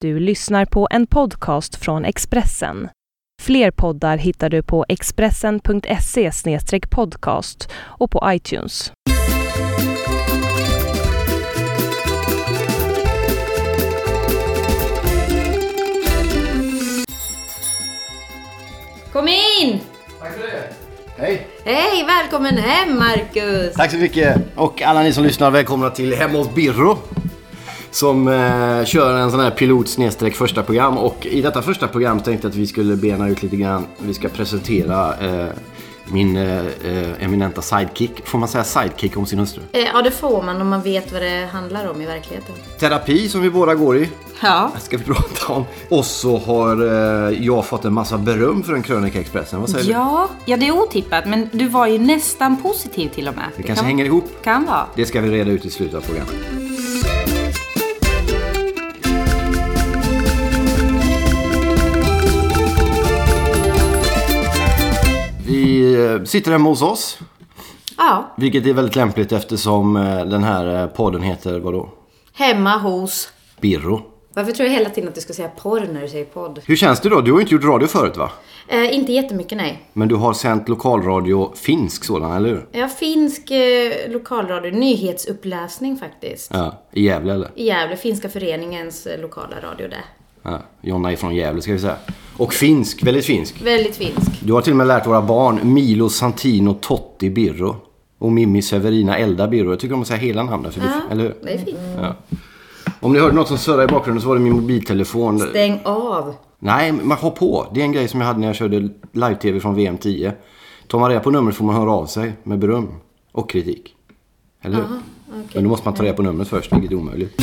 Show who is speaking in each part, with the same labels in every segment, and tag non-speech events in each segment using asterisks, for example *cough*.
Speaker 1: Du lyssnar på en podcast från Expressen. Fler poddar hittar du på expressen.se podcast och på iTunes.
Speaker 2: Kom in!
Speaker 3: Tack för det! Hej!
Speaker 2: Hej, välkommen hem Marcus!
Speaker 3: Tack så mycket! Och alla ni som lyssnar, välkomna till Hemma hos Birro. Som eh, kör en sån här pilot snedstreck första program. Och i detta första program tänkte jag att vi skulle bena ut lite grann. Vi ska presentera eh, min eh, eh, eminenta sidekick. Får man säga sidekick om sin hustru?
Speaker 2: Eh, Ja, det får man om man vet vad det handlar om i verkligheten.
Speaker 3: Terapi som vi båda går i.
Speaker 2: Ja.
Speaker 3: Ska vi *laughs* prata om. Och så har eh, jag fått en massa beröm för en krönika i Expressen. Vad säger du?
Speaker 4: Ja, ja, det är otippat, men du var ju nästan positiv till och med.
Speaker 3: Det kanske hänger ihop.
Speaker 4: Kan vara.
Speaker 3: Det ska vi reda ut i slutet av programmet. Vi eh, sitter hemma hos oss,
Speaker 2: Ja,
Speaker 3: vilket är väldigt lämpligt eftersom eh, den här eh, podden heter vadå?
Speaker 2: hemma hos...
Speaker 3: Birro.
Speaker 2: Varför tror jag hela tiden att du ska säga porr när du säger podd?
Speaker 3: Hur känns det då? Du har ju inte gjort radio förut va?
Speaker 2: Eh, inte jättemycket, nej.
Speaker 3: Men du har sänt lokalradio, finsk sådan, eller hur?
Speaker 2: Jag har finsk eh, lokalradio, nyhetsuppläsning faktiskt.
Speaker 3: Ja, i Gävle eller?
Speaker 2: I Gävle, Finska föreningens eh, lokala radio där.
Speaker 3: Ja, Jonna är från Gävle ska vi säga. Och finsk, väldigt finsk.
Speaker 2: Väldigt finsk.
Speaker 3: Du har till och med lärt våra barn Milo Santino Totti Birro och Mimmi Severina Elda Birro. Jag tycker om att säga hela namnet, för
Speaker 2: Ja,
Speaker 3: det, eller hur?
Speaker 2: det är fint.
Speaker 3: Ja. Om ni hörde något som surrade i bakgrunden så var det min mobiltelefon.
Speaker 2: Stäng av!
Speaker 3: Nej, men ha på. Det är en grej som jag hade när jag körde live-tv från VM10. Tar man reda på numret får man höra av sig med beröm och kritik. Eller hur? Men då måste man ta reda på numret först, vilket är omöjligt.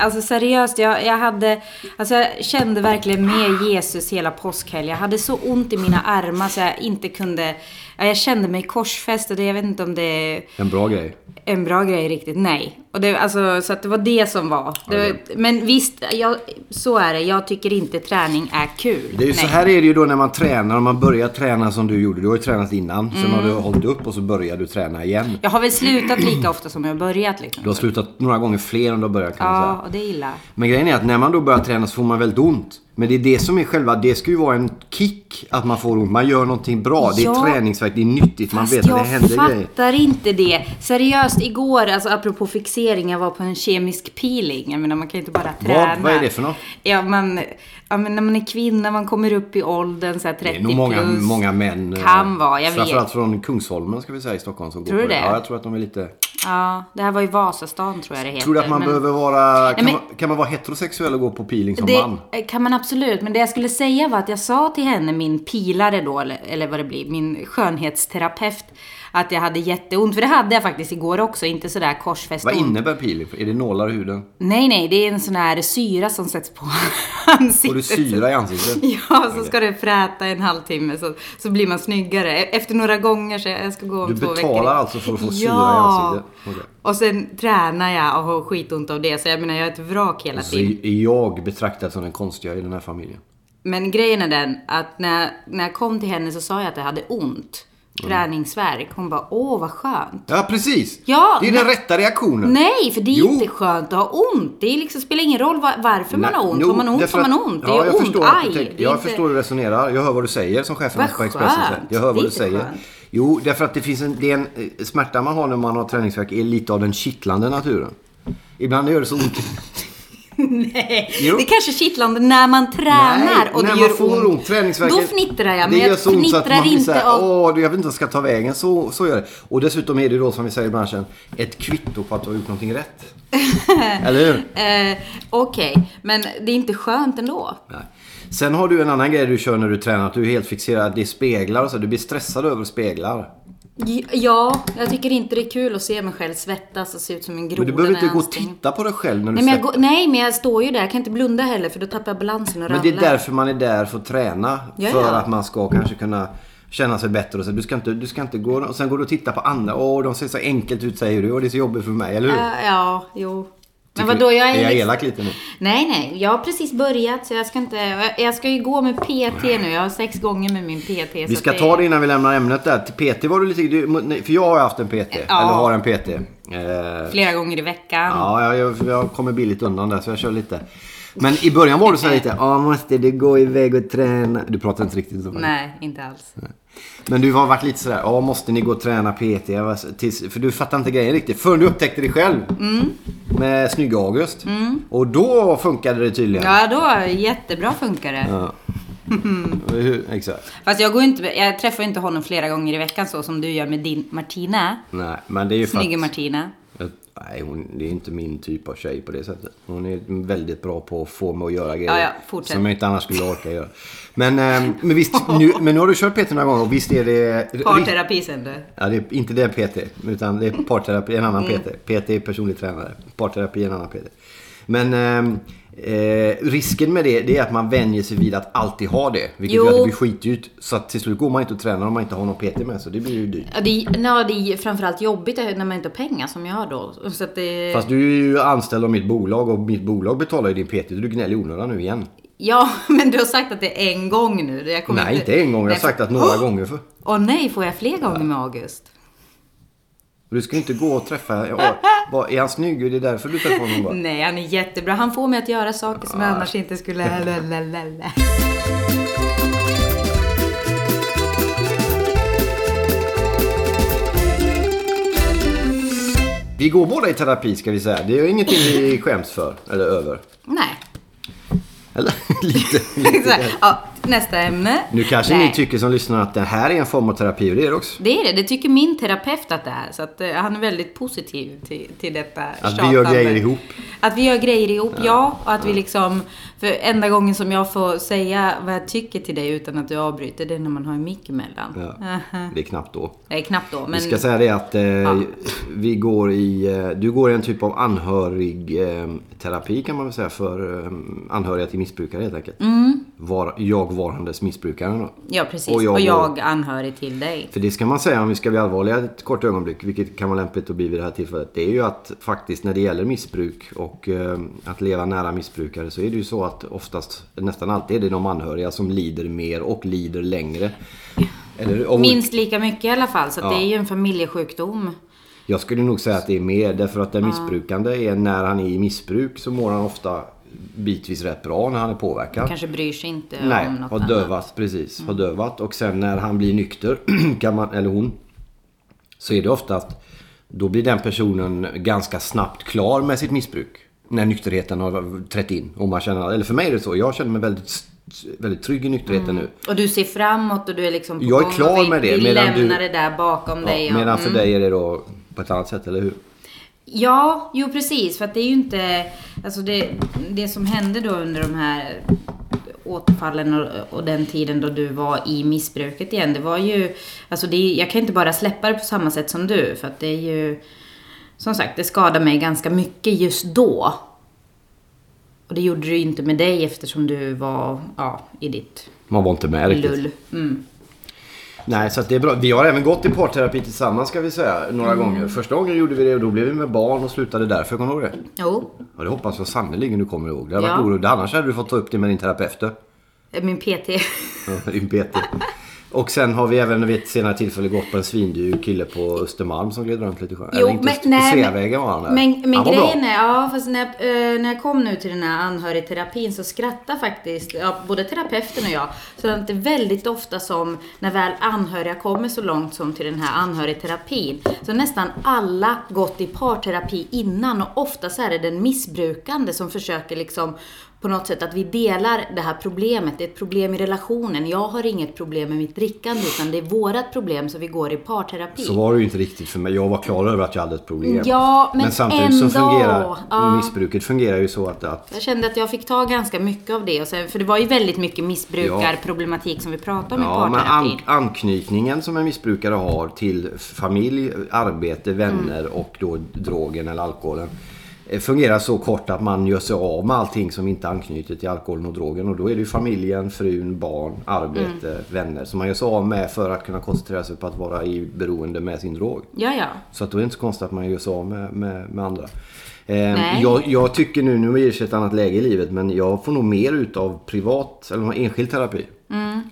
Speaker 4: Alltså seriöst, jag, jag hade... Alltså jag kände verkligen med Jesus hela påskhelgen. Jag hade så ont i mina armar så jag inte kunde... Ja, jag kände mig korsfäst och det, jag vet inte om det är
Speaker 3: En bra grej.
Speaker 4: en bra grej riktigt. Nej. Och det, alltså, så att det var det som var. Det, var- Men visst, jag, så är det. Jag tycker inte träning är kul.
Speaker 3: Det är ju, så
Speaker 4: Nej.
Speaker 3: här är det ju då när man tränar. Om man börjar träna som du gjorde. Du har ju tränat innan. Sen har du hållit upp och så börjar du träna igen.
Speaker 4: Jag har väl slutat lika ofta som jag har börjat liksom.
Speaker 3: Du har slutat några gånger fler än du har börjat kan man
Speaker 4: Ja,
Speaker 3: säga.
Speaker 4: och det är illa.
Speaker 3: Men grejen är att när man då börjar träna så får man väldigt ont. Men det är det som är själva, det ska ju vara en kick att man får ont. Man gör någonting bra. Det är
Speaker 4: Ja.
Speaker 3: träningsvärk, det är nyttigt. Man
Speaker 4: Fast
Speaker 3: vet att det
Speaker 4: jag
Speaker 3: händer grejer.
Speaker 4: fattar inte det. Seriöst, igår, alltså apropå fixering, jag var på en kemisk peeling. Jag menar, man kan ju inte bara träna.
Speaker 3: vad är det för något?
Speaker 4: Ja, man, ja, men när man är kvinna, man kommer upp i åldern, så här 30
Speaker 3: Det är nog många,
Speaker 4: plus.
Speaker 3: många män. eh,
Speaker 4: Kan vara, jag vet.
Speaker 3: Framförallt från Kungsholmen ska vi säga i Stockholm som
Speaker 4: Tror
Speaker 3: går
Speaker 4: du
Speaker 3: på det.
Speaker 4: det?
Speaker 3: Ja, jag tror att de är lite...
Speaker 4: Ja, det här var ju Vasastan tror jag det heter.
Speaker 3: Tror du att man
Speaker 4: men-
Speaker 3: behöver vara... Kan,
Speaker 4: Nej, men-
Speaker 3: man, kan man vara heterosexuell och gå på peeling som
Speaker 4: det
Speaker 3: man?
Speaker 4: kan man absolut, men det jag skulle säga var att jag sa till henne, min pilare då, eller, eller vad det blir, min skönhetsterapeut, att jag hade jätteont. För det hade jag faktiskt igår också, inte sådär korsfäst
Speaker 3: Vad
Speaker 4: ont.
Speaker 3: innebär peeling? Är det nålar i huden?
Speaker 4: Nej, nej, det är en sån här syra som sätts på *laughs* ansiktet.
Speaker 3: Får du syra i ansiktet?
Speaker 4: *laughs* Ja, så ska du fräta en halvtimme så, så blir man snyggare. E- Efter några gånger så jag ska gå om
Speaker 3: Du
Speaker 4: två veckor.
Speaker 3: betalar alltså för att få syra i ansiktet? Okej.
Speaker 4: Och sen tränar jag och har skitont av det. Så jag menar, jag är ett vrak hela
Speaker 3: Så
Speaker 4: tiden.
Speaker 3: är jag betraktad som den konstiga i den här familjen.
Speaker 4: Men grejen är den att när jag, när jag kom till henne så sa jag att jag hade ont.
Speaker 3: Mm.
Speaker 4: Träningsvärk. Hon bara, åh vad skönt.
Speaker 3: Ja, precis!
Speaker 4: Ja,
Speaker 3: det är
Speaker 4: men-
Speaker 3: den rätta reaktionen.
Speaker 4: Nej, för det är
Speaker 3: Jo.
Speaker 4: inte skönt att ha ont. Det är liksom, spelar ingen roll var, varför man har ont.
Speaker 3: Jo,
Speaker 4: har man ont
Speaker 3: därför
Speaker 4: har man
Speaker 3: att-
Speaker 4: ont. Det
Speaker 3: ja,
Speaker 4: är
Speaker 3: jag
Speaker 4: ont.
Speaker 3: Förstår,
Speaker 4: Aj.
Speaker 3: jag tänk-
Speaker 4: det är
Speaker 3: jag
Speaker 4: inte-
Speaker 3: förstår hur du resonerar. Jag hör vad du säger som chefen
Speaker 4: Vad
Speaker 3: på Expressen säger.
Speaker 4: skönt.
Speaker 3: Jag hör
Speaker 4: Det
Speaker 3: vad
Speaker 4: är
Speaker 3: du
Speaker 4: inte
Speaker 3: säger.
Speaker 4: skönt.
Speaker 3: Jo, därför att det finns en, det är en eh, smärta man har när man har träningsvärk är lite av den kittlande naturen. Ibland gör det så ont.
Speaker 4: *laughs* Nej,
Speaker 3: Jo.
Speaker 4: det är kanske kittlande när man tränar
Speaker 3: när
Speaker 4: och det
Speaker 3: man
Speaker 4: gör
Speaker 3: får
Speaker 4: ont.
Speaker 3: ont. Träningsvärken,
Speaker 4: Då fnittrar jag, men
Speaker 3: det gör
Speaker 4: jag
Speaker 3: så ont så att man
Speaker 4: fnittrar
Speaker 3: blir så
Speaker 4: inte
Speaker 3: här,
Speaker 4: av...
Speaker 3: Åh, du, jag vet inte vad jag ska ta vägen. Så, så gör det. Och dessutom är det då, som vi säger i branschen, ett kvitto på att du har gjort någonting
Speaker 4: *laughs*
Speaker 3: rätt. Eller hur?
Speaker 4: Eh, Okej, men det är inte skönt ändå.
Speaker 3: Nej. Sen har du en annan grej du kör när du tränar, att du är helt fixerad. Det är speglar och så. Du blir stressad över speglar.
Speaker 4: J- Ja, jag tycker inte det är kul att se mig själv svettas och se ut som en groda
Speaker 3: Men du behöver
Speaker 4: när
Speaker 3: inte
Speaker 4: jag
Speaker 3: gå och
Speaker 4: anstränger mig.
Speaker 3: titta på dig själv när du
Speaker 4: Nej men, jag
Speaker 3: sätter-
Speaker 4: går, nej, men jag står ju där. Jag kan inte blunda heller för då tappar jag balansen och
Speaker 3: Men det
Speaker 4: ramlar.
Speaker 3: är därför man är där för att träna.
Speaker 4: Ja,
Speaker 3: för
Speaker 4: ja.
Speaker 3: att man ska kanske kunna känna sig bättre och så. Du ska inte, du ska inte gå... Och sen går du och tittar på andra. Åh, de ser så enkelt ut säger du. Och det är så jobbigt för mig, eller hur?
Speaker 4: Eh, ja, jo.
Speaker 3: Tycker-
Speaker 4: vadå, jag är
Speaker 3: är jag
Speaker 4: liksom-
Speaker 3: elak lite nu?
Speaker 4: Nej, nej. Jag har precis börjat så jag ska inte... Jag ska ju gå med PT nu. Jag har sex gånger med min PT.
Speaker 3: Vi ska ta det innan vi lämnar ämnet där. Till PT var du lite... Du, nej, för jag har haft en PT.
Speaker 4: Ja.
Speaker 3: Eller har en PT. Eh,
Speaker 4: Flera gånger i veckan.
Speaker 3: Ja, jag, jag, jag kommer billigt undan där så jag kör lite. Men i början var du så här lite, ja måste du gå iväg och träna? Du pratar inte riktigt så.
Speaker 4: Nej, inte alls.
Speaker 3: Men du har varit lite sådär, ja måste ni gå och träna PT? Jag var så- Tills, för du fattar inte grejen riktigt förrän du upptäckte det själv.
Speaker 4: Mm.
Speaker 3: Med snygga August. Och då funkade det tydligen.
Speaker 4: Ja, då jättebra funkar det. *laughs*
Speaker 3: Ja. Hur- Exakt.
Speaker 4: Fast jag, går inte, jag träffar ju inte honom flera gånger i veckan så som du gör med din Martina.
Speaker 3: Nej, men det är ju för
Speaker 4: Snygge
Speaker 3: att,
Speaker 4: Martina.
Speaker 3: jag, Nej, hon, det är inte min typ av tjej på det sättet. Hon är väldigt bra på att få mig att göra grejer
Speaker 4: Ja, ja, fortsätt.
Speaker 3: som jag inte annars skulle orka göra. Men, eh, men visst,
Speaker 4: *laughs*
Speaker 3: nu, men nu har du kört PT några gånger och visst är det...
Speaker 4: Parterapi sen du.
Speaker 3: Ja, det är inte det PT, utan det är parterapi, en annan
Speaker 4: Mm.
Speaker 3: PT. PT är personlig tränare, parterapi är en annan PT. Men ehm, eh, risken med det, det är att man vänjer sig vid att alltid ha det. Vilket
Speaker 4: Jo.
Speaker 3: gör att det blir skitdyrt. Så att till slut går man inte och tränar om man inte har någon PT med sig. Det blir ju dyrt.
Speaker 2: Ja, det, no, det är framförallt jobbigt när man inte har pengar som jag har då. Så att
Speaker 4: Eh,
Speaker 2: det...
Speaker 3: Fast du är ju anställd av mitt bolag och mitt bolag betalar ju din PT. Du gnäller i onödan nu igen.
Speaker 4: Ja, *laughs* men du har sagt att det är en gång nu. Jag kommer
Speaker 3: Nej, inte en gång. Jag har
Speaker 4: Nej,
Speaker 3: sagt
Speaker 4: för-
Speaker 3: att några
Speaker 4: Åh!
Speaker 3: gånger för.
Speaker 4: Åh nej, får jag fler gånger med August?
Speaker 3: Du ska ju inte gå och träffa... Ja, vad- är han snygg? Är det därför du träffar honom bara?
Speaker 4: Nej, han är jättebra. Han får mig att göra saker som
Speaker 3: Ah.
Speaker 4: jag annars
Speaker 3: *laughs*
Speaker 4: inte skulle... Lalalala.
Speaker 3: Vi går båda i terapi ska vi säga. Det är ju ingenting vi skäms för. Eller över.
Speaker 4: Nej.
Speaker 3: Eller? *laughs* lite.
Speaker 4: *laughs* Så
Speaker 3: lite.
Speaker 4: här, ja, nästa ämne.
Speaker 3: Nu kanske
Speaker 4: Nej.
Speaker 3: ni tycker som lyssnar att det här är en form av terapi och det är det också.
Speaker 4: Det är det. Det tycker min terapeut att det är. Så att, eh, han är väldigt positiv till, till detta
Speaker 3: Att vi gör grejer ihop.
Speaker 4: Att vi gör grejer ihop, ja. och att vi liksom... För enda gången som jag får säga vad jag tycker till dig utan att du avbryter, det är när man har en mick emellan.
Speaker 3: Ja. Det är knappt då.
Speaker 4: Nej, knappt då. Men
Speaker 3: Vi ska säga det att eh, vi går i, eh, du går i en typ av anhörig eh, terapi kan man väl säga för eh, anhöriga till missbrukare helt enkelt. Var, jag varandes missbrukaren då.
Speaker 4: Mm. ja, precis.
Speaker 3: Och
Speaker 4: Och
Speaker 3: jag
Speaker 4: jag,
Speaker 3: går-
Speaker 4: anhörig till dig.
Speaker 3: För det ska man säga om vi ska bli allvarliga ett kort ögonblick, vilket kan vara lämpligt att bli vid det här tillfället. Det är ju att faktiskt när det gäller missbruk och eh, att leva nära missbrukare så är det ju så att oftast, nästan alltid är det de anhöriga som lider mer och lider längre. Eller, och
Speaker 4: Minst lika mycket i alla fall, så att
Speaker 3: Ja.
Speaker 4: det är ju en familjesjukdom.
Speaker 3: Jag skulle nog säga att det är mer därför att den missbrukande är när han är i missbruk så mår han ofta bitvis rätt bra när han är påverkad.
Speaker 4: Kanske bryr sig inte
Speaker 3: Nej,
Speaker 4: om något
Speaker 3: har
Speaker 4: annat. Mm.
Speaker 3: dövat. Precis, har dövat. Och sen när han blir nykter, *clears throat* kan man, eller hon, så är det ofta att då blir den personen ganska snabbt klar med sitt missbruk. När nykterheten har trätt in. Och man känner, eller för mig är det så. Jag känner mig väldigt, st- väldigt trygg i nykterheten nu.
Speaker 4: Och du ser framåt och du är liksom på
Speaker 3: Jag är
Speaker 4: gång och
Speaker 3: klar
Speaker 4: vi-
Speaker 3: med det,
Speaker 4: Vi
Speaker 3: medan
Speaker 4: lämnar
Speaker 3: du-
Speaker 4: det där bakom dig.
Speaker 3: Ja,
Speaker 4: och-
Speaker 3: medan
Speaker 4: mm.
Speaker 3: för dig är det då på ett annat sätt, eller hur?
Speaker 4: Ja, jo precis. För att det är ju inte... Alltså det, det som hände då under de här återfallen och, och den tiden då du var i missbruket igen. Det var ju... Alltså det, är- jag kan inte bara släppa det på samma sätt som du. För att det är ju... Som sagt, det skadade mig ganska mycket just då. Och det gjorde det ju inte med dig eftersom du var ja, i ditt
Speaker 3: Man var inte med riktigt.
Speaker 4: lull. Mm.
Speaker 3: Nej, så att det är bra. Vi har även gått i parterapi tillsammans ska vi säga, några
Speaker 4: Mm.
Speaker 3: gånger. Första gången gjorde vi det och då blev vi med barn och slutade därför, kommer du ihåg det?
Speaker 4: Jo,
Speaker 3: Ja, det hoppas jag sannerligen du kommer ihåg. Det hade
Speaker 4: Ja.
Speaker 3: varit oroligt. Annars hade du fått ta upp det med din terapeut. du.
Speaker 4: min PT.
Speaker 3: *laughs*
Speaker 4: *laughs*
Speaker 3: Din PT. Och sen har vi även vid ett senare tillfälle gått på en svindyr kille på Östermalm som gled runt lite i sjön. Eller inte Öster- på Sveavägen var han där.
Speaker 4: Men, men
Speaker 3: han var
Speaker 4: grejen
Speaker 3: bra.
Speaker 4: är, ja fast när, jag- eh, när jag kom nu till den här anhörigterapin så skrattar faktiskt ja, både terapeuten och jag. Så att det är väldigt ofta som när väl anhöriga kommer så långt som till den här anhörigterapin så har nästan alla gått i parterapi innan och oftast är det den missbrukande som försöker liksom på något sätt att vi delar det här problemet. Det är ett problem i relationen. Jag har inget problem med mitt drickande utan det är vårat problem så vi går i parterapi.
Speaker 3: Så var det ju inte riktigt för mig. Jag var klar över att jag hade ett problem.
Speaker 4: Ja, men
Speaker 3: samtidigt så
Speaker 4: ändå.
Speaker 3: fungerar
Speaker 4: Ja.
Speaker 3: missbruket fungerar ju så att, att
Speaker 4: Jag kände att jag fick ta ganska mycket av det. Och sen, för det var ju väldigt mycket missbrukarproblematik som vi pratade om
Speaker 3: Ja,
Speaker 4: i
Speaker 3: men
Speaker 4: parterapin.
Speaker 3: an- anknytningen som en missbrukare
Speaker 4: Mm.
Speaker 3: har till familj, arbete, vänner och då drogen eller alkoholen. eh, fungerar så kort att man gör sig av med allting som inte anknyter till alkoholen och drogen. Och då är det ju familjen, frun, barn, arbete,
Speaker 4: Mm.
Speaker 3: vänner som man gör sig av med för att kunna koncentrera sig på att vara i beroende med sin drog.
Speaker 4: Ja, ja.
Speaker 3: Så att då är det inte så konstigt att man gör sig av med, med, med andra. Eh,
Speaker 4: Nej.
Speaker 3: jag, jag tycker nu, nu är det ett annat läge i livet, men jag får nog mer utav privat eller enskild terapi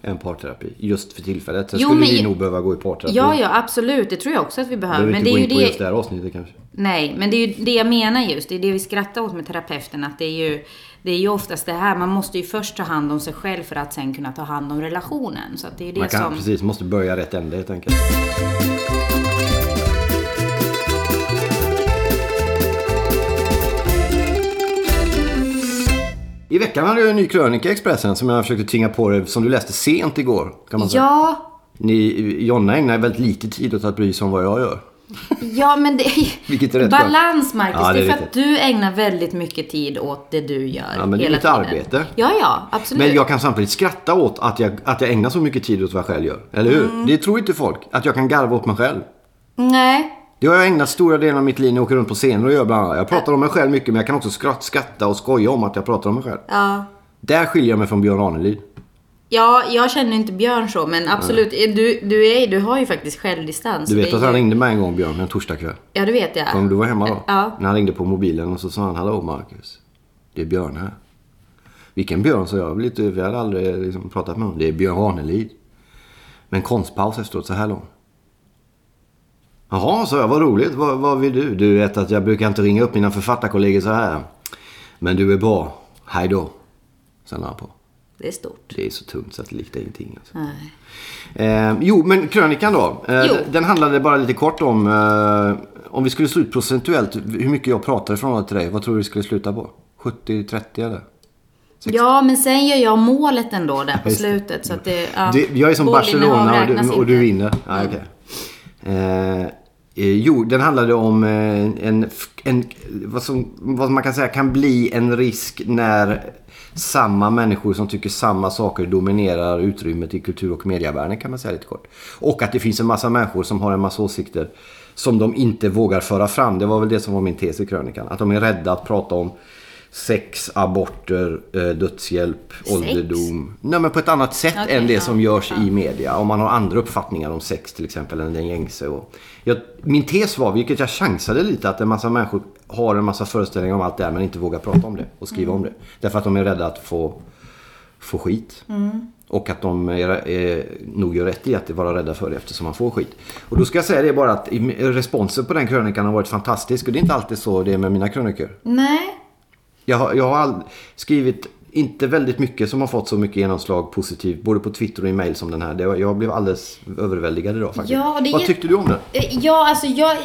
Speaker 3: än parterapi. Just för tillfället. Sen
Speaker 4: Mm. Jo,
Speaker 3: skulle
Speaker 4: men
Speaker 3: vi
Speaker 4: ju-
Speaker 3: nog behöva gå i parterapi.
Speaker 4: Ja, ja, absolut. Det tror jag också att vi behöver.
Speaker 3: Behöver
Speaker 4: Men
Speaker 3: inte
Speaker 4: det
Speaker 3: gå
Speaker 4: är ju
Speaker 3: in på just det
Speaker 4: det...
Speaker 3: här avsnittet kanske.
Speaker 4: Nej, men det är ju det jag menar just. Det är det vi skrattar åt med terapeuten. Att det är ju... Det är ju oftast det här. Man måste ju först ta hand om sig själv för att sen kunna ta hand om relationen. Så att det är ju
Speaker 3: Man
Speaker 4: det
Speaker 3: kan
Speaker 4: som...
Speaker 3: precis, måste börja rätt ände helt enkelt. I veckan hade jag en ny krönika i Expressen som jag försökte tvinga på dig, som du läste sent igår. Kan man säga.
Speaker 4: Ja,
Speaker 3: Ni, Jonna ägnar väldigt lite tid åt att bry sig om vad jag gör.
Speaker 4: Ja, men det
Speaker 3: Vilket är rätt
Speaker 4: *laughs* Balans,
Speaker 3: bra.
Speaker 4: Marcus.
Speaker 3: Ja,
Speaker 4: det,
Speaker 3: det är
Speaker 4: är för
Speaker 3: viktigt.
Speaker 4: att du ägnar väldigt mycket tid åt det du gör.
Speaker 3: Ja, men det är
Speaker 4: hela
Speaker 3: mitt
Speaker 4: tiden.
Speaker 3: arbete.
Speaker 4: Ja, ja. Absolut.
Speaker 3: Men jag kan samtidigt skratta åt att jag, att jag ägnar så mycket tid åt vad jag själv gör. Eller hur?
Speaker 4: Mm.
Speaker 3: Det tror inte folk. Att jag kan garva åt mig själv.
Speaker 4: Nej.
Speaker 3: Det har jag ägnat stora delen av mitt liv när jag åker runt på scener och gör bland annat. Jag pratar om mig själv mycket men jag kan också skratt, skratta och skoja om att jag pratar om mig själv.
Speaker 4: Ja.
Speaker 3: Där skiljer jag mig från Björn Ranelid.
Speaker 4: Ja, jag känner inte Björn så, men absolut. Eh, Du, du, är, du har ju faktiskt självdistans.
Speaker 3: Du
Speaker 4: Det
Speaker 3: vet
Speaker 4: är
Speaker 3: att han
Speaker 4: ju-
Speaker 3: ringde mig en gång Björn, en torsdagkväll.
Speaker 4: Ja, det vet jag.
Speaker 3: Om du var hemma då?
Speaker 4: Ja.
Speaker 3: När han ringde på mobilen och så sa han Hallå Marcus. Det är Björn här. Vilken Björn? sa jag. Lite, vi hade aldrig liksom pratat med honom. Det är Björn Ranelid. Men konstpaus efteråt så här lång. Jaha, sa jag. Vad roligt. Vad, vad vill du? Du vet att jag brukar inte ringa upp mina författarkollegor så här. Men du är bra. Hej då. Sen la han på.
Speaker 4: Det är stort.
Speaker 3: Det är så tungt så att det liknar ingenting. Alltså.
Speaker 4: Nej.
Speaker 3: Eh, jo, men krönikan då. Eh,
Speaker 4: Jo.
Speaker 3: d- Den handlade bara lite kort om eh, om vi skulle slå ut procentuellt hur mycket jag pratade från till dig. Vad tror du vi skulle sluta på? 70-30 eller?
Speaker 4: Ja, men sen gör jag målet ändå där på
Speaker 3: just det.
Speaker 4: slutet. Så att det, ja.
Speaker 3: Du, jag är som
Speaker 4: Bollinnehav
Speaker 3: Barcelona och
Speaker 4: räknas
Speaker 3: du, och du
Speaker 4: inte. Mm.
Speaker 3: vinner. Ah, okej. eh, eh, jo, den handlade om eh, en, f- en, vad, som, vad man kan säga kan bli en risk när samma människor som tycker samma saker dominerar utrymmet i kultur och medievärlden kan man säga lite kort. Och att det finns en massa människor som har en massa åsikter som de inte vågar föra fram. Det var väl det som var min tes i krönikan. Att de är rädda att prata om sex, aborter, eh, dödshjälp, ålderdom. Nej men på ett annat sätt
Speaker 4: Okej,
Speaker 3: än det
Speaker 4: ja.
Speaker 3: som görs i media. Om man har andra uppfattningar om sex till exempel än den gängse. Och jag, min tes var, vilket jag chansade lite, att en massa människor har en massa föreställningar om allt det här men inte vågar prata om det och skriva
Speaker 4: Mm.
Speaker 3: om det. Därför att de är rädda att få, få skit.
Speaker 4: Mm.
Speaker 3: Och att de är, är, nog gör rätt i att vara rädda för det eftersom man får skit. Och då ska jag säga det bara att i- responsen på den krönikan har varit fantastisk. Och det är inte alltid så det är med mina krönikor.
Speaker 4: Nej.
Speaker 3: Jag har, jag har all, skrivit inte väldigt mycket som har fått så mycket genomslag positivt både på Twitter och i mail som den här. Det var, jag blev alldeles överväldigad idag faktiskt.
Speaker 4: Ja, och det är
Speaker 3: Vad
Speaker 4: jätte-
Speaker 3: tyckte du om den?
Speaker 4: Eh, Ja, alltså jag...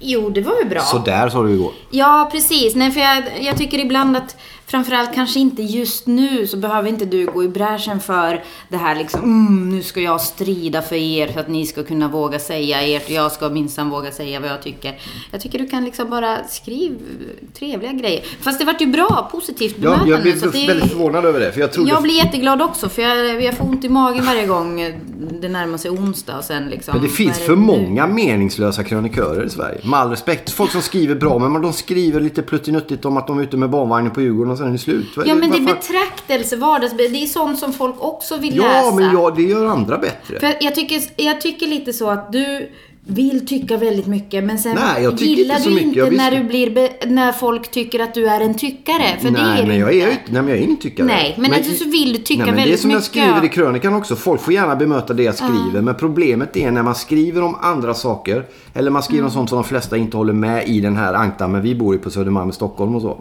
Speaker 4: Jo, det var väl bra.
Speaker 3: Sådär sa du igår.
Speaker 4: Ja, precis. Nej, för jag, jag tycker ibland att framförallt kanske inte just nu så behöver inte du gå i bräschen för det här liksom, mm, nu ska jag strida för er för att ni ska kunna våga säga ert och jag ska minsann våga säga vad jag tycker. Jag tycker du kan liksom bara skriv trevliga grejer. Fast det vart ju bra, positivt
Speaker 3: Jag,
Speaker 4: bemötande.
Speaker 3: jag blev
Speaker 4: så att det-
Speaker 3: väldigt förvånad över det. För jag trodde...
Speaker 4: jag blir jätteglad också för jag, jag får ont i magen varje gång det närmar sig onsdag och sen liksom.
Speaker 3: Men det finns
Speaker 4: vad är
Speaker 3: för
Speaker 4: nu?
Speaker 3: många meningslösa krönikörer i Sverige. Med all respekt. Folk som skriver bra men de skriver lite pluttinuttigt om att de är ute med barnvagnen på Djurgården och sen är det slut. Vad är
Speaker 4: Ja men det är
Speaker 3: varför-
Speaker 4: betraktelse, vardags... Det är sånt som folk också vill läsa.
Speaker 3: Ja, men ja, det gör andra bättre.
Speaker 4: För jag, tycker, jag tycker lite så att du vill tycka väldigt mycket men sen
Speaker 3: Nej, jag tycker
Speaker 4: gillar
Speaker 3: inte så
Speaker 4: du
Speaker 3: mycket. Jag
Speaker 4: inte när,
Speaker 3: visste-
Speaker 4: du blir be, när folk tycker att du är en tyckare. För
Speaker 3: nej,
Speaker 4: det är du
Speaker 3: men jag
Speaker 4: inte.
Speaker 3: är, ju inte- nej, men jag är ingen tyckare.
Speaker 4: Nej, men alltså så vill du tycka
Speaker 3: nej, men Det är
Speaker 4: väldigt
Speaker 3: som jag
Speaker 4: mycket.
Speaker 3: skriver i krönikan också. Folk får gärna bemöta det jag skriver. Men problemet är när man skriver om andra saker. Eller man skriver
Speaker 4: Mm.
Speaker 3: om sånt som de flesta inte håller med i den här ankdammen vi bor i på Södermalm i Stockholm och så.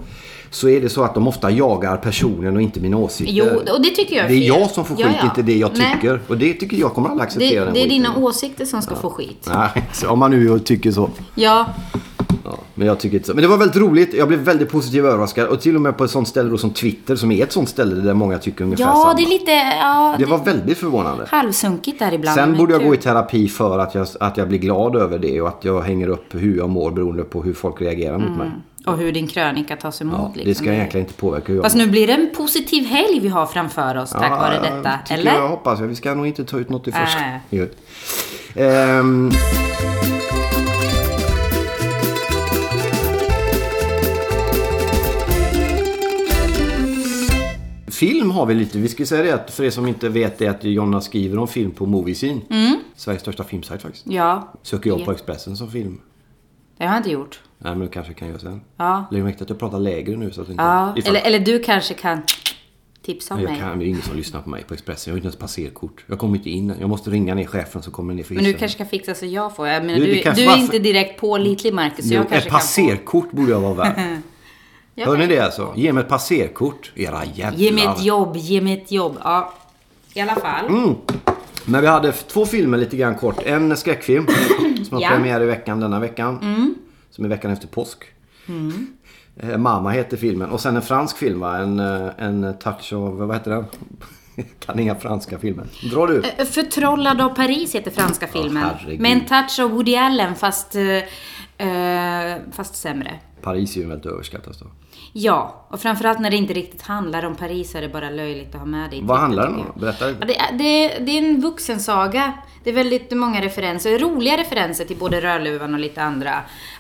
Speaker 3: Så är det så att de ofta jagar personen och inte mina åsikter.
Speaker 4: Jo, och det tycker jag är
Speaker 3: Det är
Speaker 4: fel.
Speaker 3: jag som får skit,
Speaker 4: Ja, ja.
Speaker 3: inte det jag
Speaker 4: Nej.
Speaker 3: tycker. Och det tycker jag kommer alla acceptera.
Speaker 4: det,
Speaker 3: den
Speaker 4: det är
Speaker 3: skiten.
Speaker 4: dina åsikter som ska få skit.
Speaker 3: Nej, så *laughs* om man nu tycker så.
Speaker 4: Ja,
Speaker 3: Ja, men jag tycker inte så. Men det var väldigt roligt. Jag blev väldigt positivt överraskad. Och till och med på ett sånt ställe då som Twitter som är ett sånt ställe där många tycker ungefär
Speaker 4: ja
Speaker 3: samma.
Speaker 4: det är lite ja,
Speaker 3: Det var väldigt förvånande.
Speaker 4: halvsunkigt där ibland.
Speaker 3: Sen
Speaker 4: men
Speaker 3: borde jag
Speaker 4: kul.
Speaker 3: gå i terapi för att jag, att jag blir glad över det och att jag hänger upp hur jag mår beroende på hur folk reagerar mot mig.
Speaker 4: Och hur din krönika tas emot.
Speaker 3: Ja, det
Speaker 4: Mm, liksom.
Speaker 3: ska egentligen inte påverka hur jag
Speaker 4: Fast nu blir det en positiv helg vi har framför oss tack vare
Speaker 3: Ja,
Speaker 4: detta.
Speaker 3: tycker
Speaker 4: Eller? Äh.
Speaker 3: Jag hoppas jag. Vi ska nog inte ta ut något i förskott.
Speaker 4: Nej.
Speaker 3: Jo. Ehm. har vi lite. Vi ska ju säga det att för er som inte vet det att Jonna skriver om film på Moviescene. Sveriges största filmsajt faktiskt.
Speaker 4: Mm. Ja,
Speaker 3: Söker jobb på Expressen som film.
Speaker 4: det har jag inte gjort.
Speaker 3: Nej men det kanske jag kan göra sen.
Speaker 4: Ja.
Speaker 3: Lägg märke till att jag pratar lägre nu så att inte...
Speaker 4: Ja.
Speaker 3: ifall-
Speaker 4: Eller, eller du kanske kan tipsa om
Speaker 3: Men jag
Speaker 4: mig.
Speaker 3: kan, det är ingen som lyssnar på mig på Expressen. Jag har inte ens passerkort. Jag kommer inte in. Jag måste ringa ner chefen så kommer ni för
Speaker 4: Men du
Speaker 3: hissen.
Speaker 4: kanske kan fixa så jag får. Jag menar,
Speaker 3: Du,
Speaker 4: du,
Speaker 3: det
Speaker 4: du,
Speaker 3: kanske Mm.
Speaker 4: är
Speaker 3: var-
Speaker 4: inte direkt pålitlig Marcus.
Speaker 3: Jo,
Speaker 4: Så jag kanske
Speaker 3: ett
Speaker 4: kan få.
Speaker 3: passerkort borde jag vara värd.
Speaker 4: *laughs* Jag
Speaker 3: Hör ni
Speaker 4: kanske-
Speaker 3: det alltså? Ge mig ett passerkort. Era jävlar.
Speaker 4: Ge mig ett jobb, ge mig ett jobb. Ja. I alla fall.
Speaker 3: Mm. Men vi hade f- två filmer lite grann kort. En
Speaker 4: *coughs*
Speaker 3: skräckfilm som har
Speaker 4: Ja. Mm.
Speaker 3: premiär i veckan denna veckan. Som är veckan efter påsk. Eh, Mamma heter filmen. Och sen en fransk film va? En, eh, en touch av, vad heter den? *laughs* kan inga franska filmer. Dra du.
Speaker 4: Eh, Förtrollad av Paris heter franska filmen.
Speaker 3: herregud.
Speaker 4: med en touch av Woody Allen fast, eh, eh, fast sämre.
Speaker 3: Paris är ju väldigt överskattat då.
Speaker 4: Ja, och framförallt när det inte riktigt handlar om Paris är det bara löjligt att ha med det
Speaker 3: Vad
Speaker 4: i titeln,
Speaker 3: handlar den
Speaker 4: tycker
Speaker 3: om?
Speaker 4: jag.
Speaker 3: Berätta lite.
Speaker 4: Ja, det, är- det, är- det är en vuxensaga. Det är väldigt många referenser. Roliga referenser till både Rödluvan och lite andra.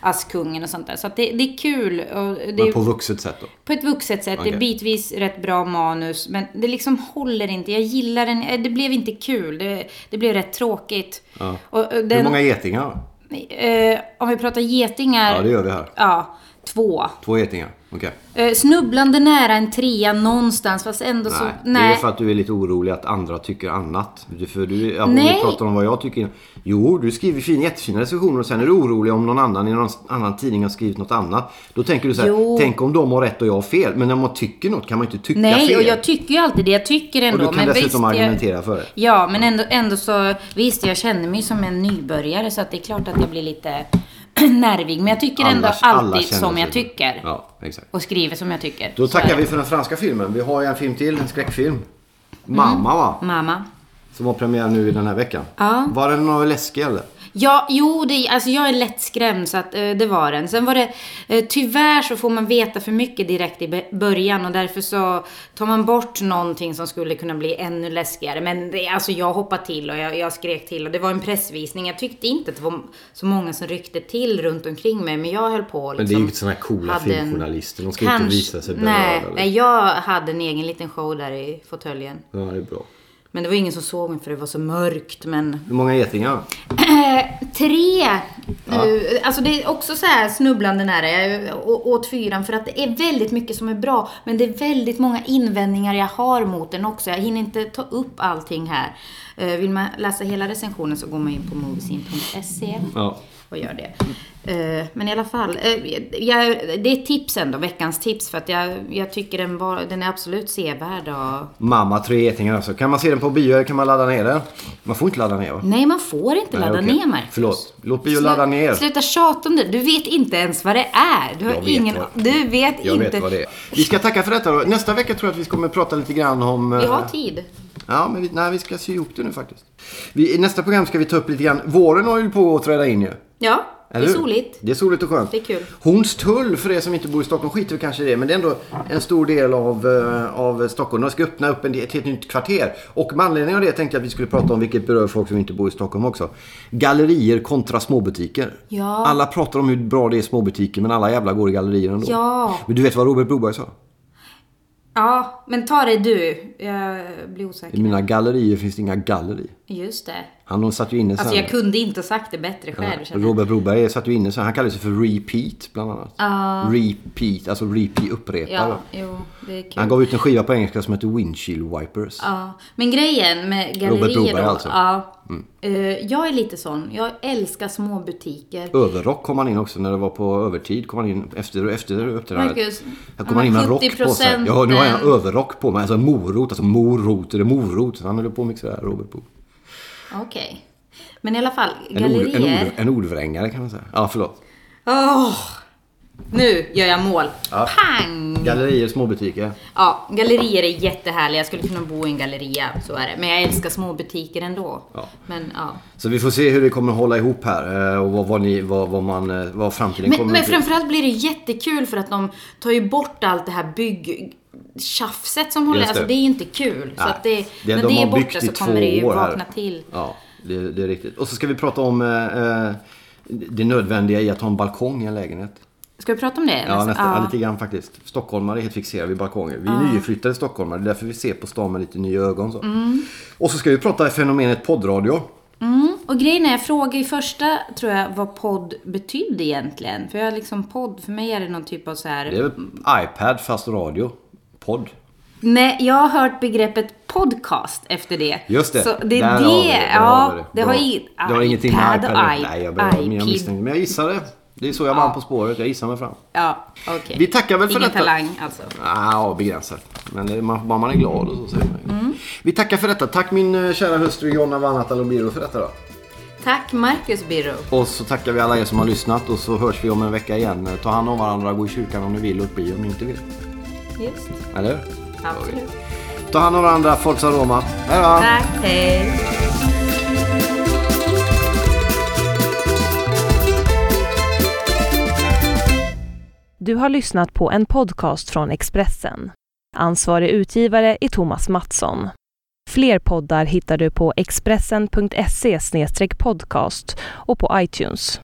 Speaker 4: Askungen och sånt där. Så att det, det är kul. Och det
Speaker 3: Men
Speaker 4: är
Speaker 3: på vuxet sätt då.
Speaker 4: på ett vuxet sätt. Det
Speaker 3: Okej.
Speaker 4: är bitvis rätt bra manus. Men det liksom håller inte. Jag gillar den. eh, Det blev inte kul. Det, det blev rätt tråkigt.
Speaker 3: Ja.
Speaker 4: Och, eh,
Speaker 3: Hur
Speaker 4: den,
Speaker 3: många getingar?
Speaker 4: eh, om vi pratar getingar.
Speaker 3: Ja det gör vi här.
Speaker 4: Ja, två.
Speaker 3: Två getingar. Okej.
Speaker 4: Eh, snubblande nära en trea någonstans. Fast ändå så...
Speaker 3: Nej, det är för att du är lite orolig att andra tycker annat. Du- För du, ja,
Speaker 4: Nej.
Speaker 3: vi pratar om vad jag tycker. Jo, du skriver fin, jättefina recensioner och sen är du orolig om någon annan i någon annan tidning har skrivit något annat. Då tänker du så här,
Speaker 4: Jo.
Speaker 3: tänk om de har rätt och jag har fel. Men när man tycker något kan man ju inte tycka
Speaker 4: Nej,
Speaker 3: fel.
Speaker 4: och jag tycker ju alltid det. Jag tycker
Speaker 3: Och
Speaker 4: ändå.
Speaker 3: du kan
Speaker 4: men
Speaker 3: dessutom
Speaker 4: visst, jag-
Speaker 3: argumentera för det.
Speaker 4: Ja, men ändå, ändå så... Visst, jag känner mig som en nybörjare. Så att det är klart att jag blir lite *clears throat* nervig. Men jag tycker ändå
Speaker 3: Alla- alla
Speaker 4: alltid
Speaker 3: känner
Speaker 4: som
Speaker 3: sig
Speaker 4: jag
Speaker 3: det.
Speaker 4: tycker.
Speaker 3: Ja, exakt.
Speaker 4: Och skriver som jag tycker.
Speaker 3: Då
Speaker 4: Så är
Speaker 3: tackar
Speaker 4: det.
Speaker 3: vi för den franska filmen. Vi har ju en film till, en skräckfilm. Mamma va?
Speaker 4: Mamma.
Speaker 3: Som har premiär nu i den här veckan.
Speaker 4: Ja.
Speaker 3: Var den någon läskig eller?
Speaker 4: Ja, jo, det, alltså jag är lättskrämd så att eh, det var den. Sen var det, eh, tyvärr så får man veta för mycket direkt i be- början och därför så tar man bort någonting som skulle kunna bli ännu läskigare. Men det, alltså jag hoppade till och jag, jag skrek till och det var en pressvisning. Jag tyckte inte att det var så många som ryckte till runt omkring mig, men jag höll på och
Speaker 3: Men
Speaker 4: liksom,
Speaker 3: det är ju inte såna här coola
Speaker 4: hade en-
Speaker 3: filmjournalister. De ska ju inte
Speaker 4: Kanske-
Speaker 3: visa sig
Speaker 4: nej,
Speaker 3: berörda, eller?
Speaker 4: nej, jag hade en egen liten show där i fåtöljen.
Speaker 3: Ja, det är bra.
Speaker 4: Men det var ingen som såg mig för det var så mörkt, men
Speaker 3: Hur många getingar?
Speaker 4: Eh, tre. Nu, alltså det är också så här snubblande nära. Jag å- åt fyran för att det är väldigt mycket som är bra. Men det är väldigt många invändningar jag har mot den också. Jag hinner inte ta upp allting här. Eh, vill man läsa hela recensionen så går man in på moviesin.se
Speaker 3: Ja.
Speaker 4: och gör det. Eh, men i alla fall, eh, jag, det är tips ändå. Veckans tips. För att jag, jag tycker den, var, den är absolut sevärd. Och...
Speaker 3: Mamma tre getingar alltså. Kan man se den på bio eller kan man ladda ner den? Man får inte ladda ner va?
Speaker 4: Nej, man får inte ladda
Speaker 3: okej.
Speaker 4: ner Marcus.
Speaker 3: Förlåt. Låt bio ladda ner.
Speaker 4: Sluta tjata om det. Du vet inte ens vad det är. Du har
Speaker 3: Jag vet
Speaker 4: ingen...
Speaker 3: vad-
Speaker 4: Du vet
Speaker 3: Jag
Speaker 4: inte...
Speaker 3: vet vad det är. Vi ska tacka för detta då. Nästa vecka tror jag att vi kommer prata lite grann om... eh,
Speaker 4: Vi har tid.
Speaker 3: Ja, men vi, nej, vi ska sy ihop det nu faktiskt. Vi, I nästa program ska vi ta upp lite grann... Våren har ju på att träda in ju.
Speaker 4: Ja,
Speaker 3: Eller
Speaker 4: det
Speaker 3: hur?
Speaker 4: är soligt.
Speaker 3: Det är soligt och skönt.
Speaker 4: Det är kul.
Speaker 3: Hornstull, för er som inte bor i Stockholm, skiter vi kanske i det. Men det är ändå en stor del av, eh, av Stockholm. De ska öppna upp en, del- ett helt nytt kvarter. Och med anledning av det tänkte jag att vi skulle prata om, vilket berör folk som inte bor i Stockholm också. Gallerier kontra småbutiker.
Speaker 4: Ja.
Speaker 3: Alla pratar om hur bra det är i småbutiker, men alla jävla går i gallerier ändå.
Speaker 4: Ja.
Speaker 3: Men du vet vad Robert Broberg sa?
Speaker 4: Ja, men ta dig du. Jag blir osäker.
Speaker 3: I mina gallerier finns det inga galleri.
Speaker 4: Just det.
Speaker 3: Han satt ju inne sen.
Speaker 4: Alltså jag kunde inte ha sagt det bättre själv. känner jag.
Speaker 3: Robert Broberg satt ju inne sen. Han kallades ju för repeat bland annat. Repeat, alltså repeat, upprepare.
Speaker 4: Ja, jo, det är
Speaker 3: Han
Speaker 4: kul.
Speaker 3: gav ut en skiva på engelska som heter Windshield Wipers.
Speaker 4: Ja, men grejen med gallerier
Speaker 3: Broberg
Speaker 4: då,
Speaker 3: alltså.
Speaker 4: ja, Eh, Jag är lite sån. Jag älskar små butiker.
Speaker 3: Överrock kom han in också när det var på övertid. Kom han in efter, efter uppträdandet.
Speaker 4: Marcus,
Speaker 3: Här kom han in med en rock på sig.
Speaker 4: 70%
Speaker 3: Ja, nu har
Speaker 4: eh,
Speaker 3: jag en överrock på mig. Alltså morot. Alltså morot. Är det morot? Han höll på att mixa det här, Robert Bo.
Speaker 4: Okej. Men i alla fall,
Speaker 3: En, ord, en,
Speaker 4: gallerier.
Speaker 3: ord, en ordvrängare kan man säga. Ja, förlåt.
Speaker 4: Åh! nu gör jag mål. Pang!
Speaker 3: Gallerier, småbutiker.
Speaker 4: Ja, gallerier är jättehärliga. Jag skulle kunna bo i en galleria, så är det. Men jag älskar små butiker ändå.
Speaker 3: Ja.
Speaker 4: Men, ja.
Speaker 3: Så vi får se hur det kommer att hålla ihop här. eh, Och vad, vad, ni, vad, vad, man, eh, vad framtiden
Speaker 4: men,
Speaker 3: kommer
Speaker 4: men
Speaker 3: att bli.
Speaker 4: framförallt blir det jättekul för att de tar ju bort allt det här bygg tjafset som håller,
Speaker 3: Just det.
Speaker 4: alltså det är ju inte kul. Så
Speaker 3: Nej.
Speaker 4: att det,
Speaker 3: Det-
Speaker 4: när
Speaker 3: de
Speaker 4: det är
Speaker 3: har byggt
Speaker 4: borta
Speaker 3: i
Speaker 4: så
Speaker 3: två
Speaker 4: kommer det ju
Speaker 3: år här.
Speaker 4: vakna till.
Speaker 3: Ja, det, det är riktigt. Och så ska vi prata om eh, eh, det nödvändiga i att ha en balkong i en lägenhet.
Speaker 4: Ska vi prata om det?
Speaker 3: Ja, nästa, ja. lite grann faktiskt. Stockholmare är helt fixerade vid balkonger. Vi är nyinflyttade stockholmare. Det är därför vi ser på stan med lite nya ögon. Så. Och så ska vi prata om fenomenet poddradio.
Speaker 4: Mm. Och grejen är, jag frågade i första, tror jag, vad podd betydde egentligen. För jag liksom podd, för mig är det någon typ av så här...
Speaker 3: Det är väl iPad fast radio. Podd.
Speaker 4: Nej, jag har hört begreppet podcast efter det.
Speaker 3: Just det.
Speaker 4: Så det är
Speaker 3: Där har
Speaker 4: det.
Speaker 3: vi det. Där har
Speaker 4: ja,
Speaker 3: vi det.
Speaker 4: det
Speaker 3: Bra.
Speaker 4: har, i,
Speaker 3: Det har ingenting med iPad
Speaker 4: och
Speaker 3: att- Nej, jag,
Speaker 4: iPad.
Speaker 3: behöver, men jag misstänkte. Men jag gissade. Det är så jag vann På spåret. Jag gissar mig fram.
Speaker 4: Ja, okej.
Speaker 3: Vi tackar väl för
Speaker 4: Ingen
Speaker 3: detta.
Speaker 4: talang alltså.
Speaker 3: Ah, ja, begränsat. Men det, man, bara man är glad och så säger man ju. Vi tackar för detta. Tack min eh, kära hustru Jonna Vanhatalobiro för detta då.
Speaker 4: Tack Marcus Birro.
Speaker 3: Och så tackar vi alla er som har lyssnat och så hörs vi om en vecka igen. Eh, Ta hand om varandra, gå i kyrkan om ni vill och bli om ni inte vill.
Speaker 4: Just,
Speaker 3: Eller hur?
Speaker 4: absolut.
Speaker 3: Ta hand om varandra, Forza Roma. Hej då!
Speaker 4: Tack, hej.
Speaker 1: Du har lyssnat på en podcast från Expressen. Ansvarig utgivare är Thomas Mattsson. Fler poddar hittar du på expressen.se podcast och på iTunes.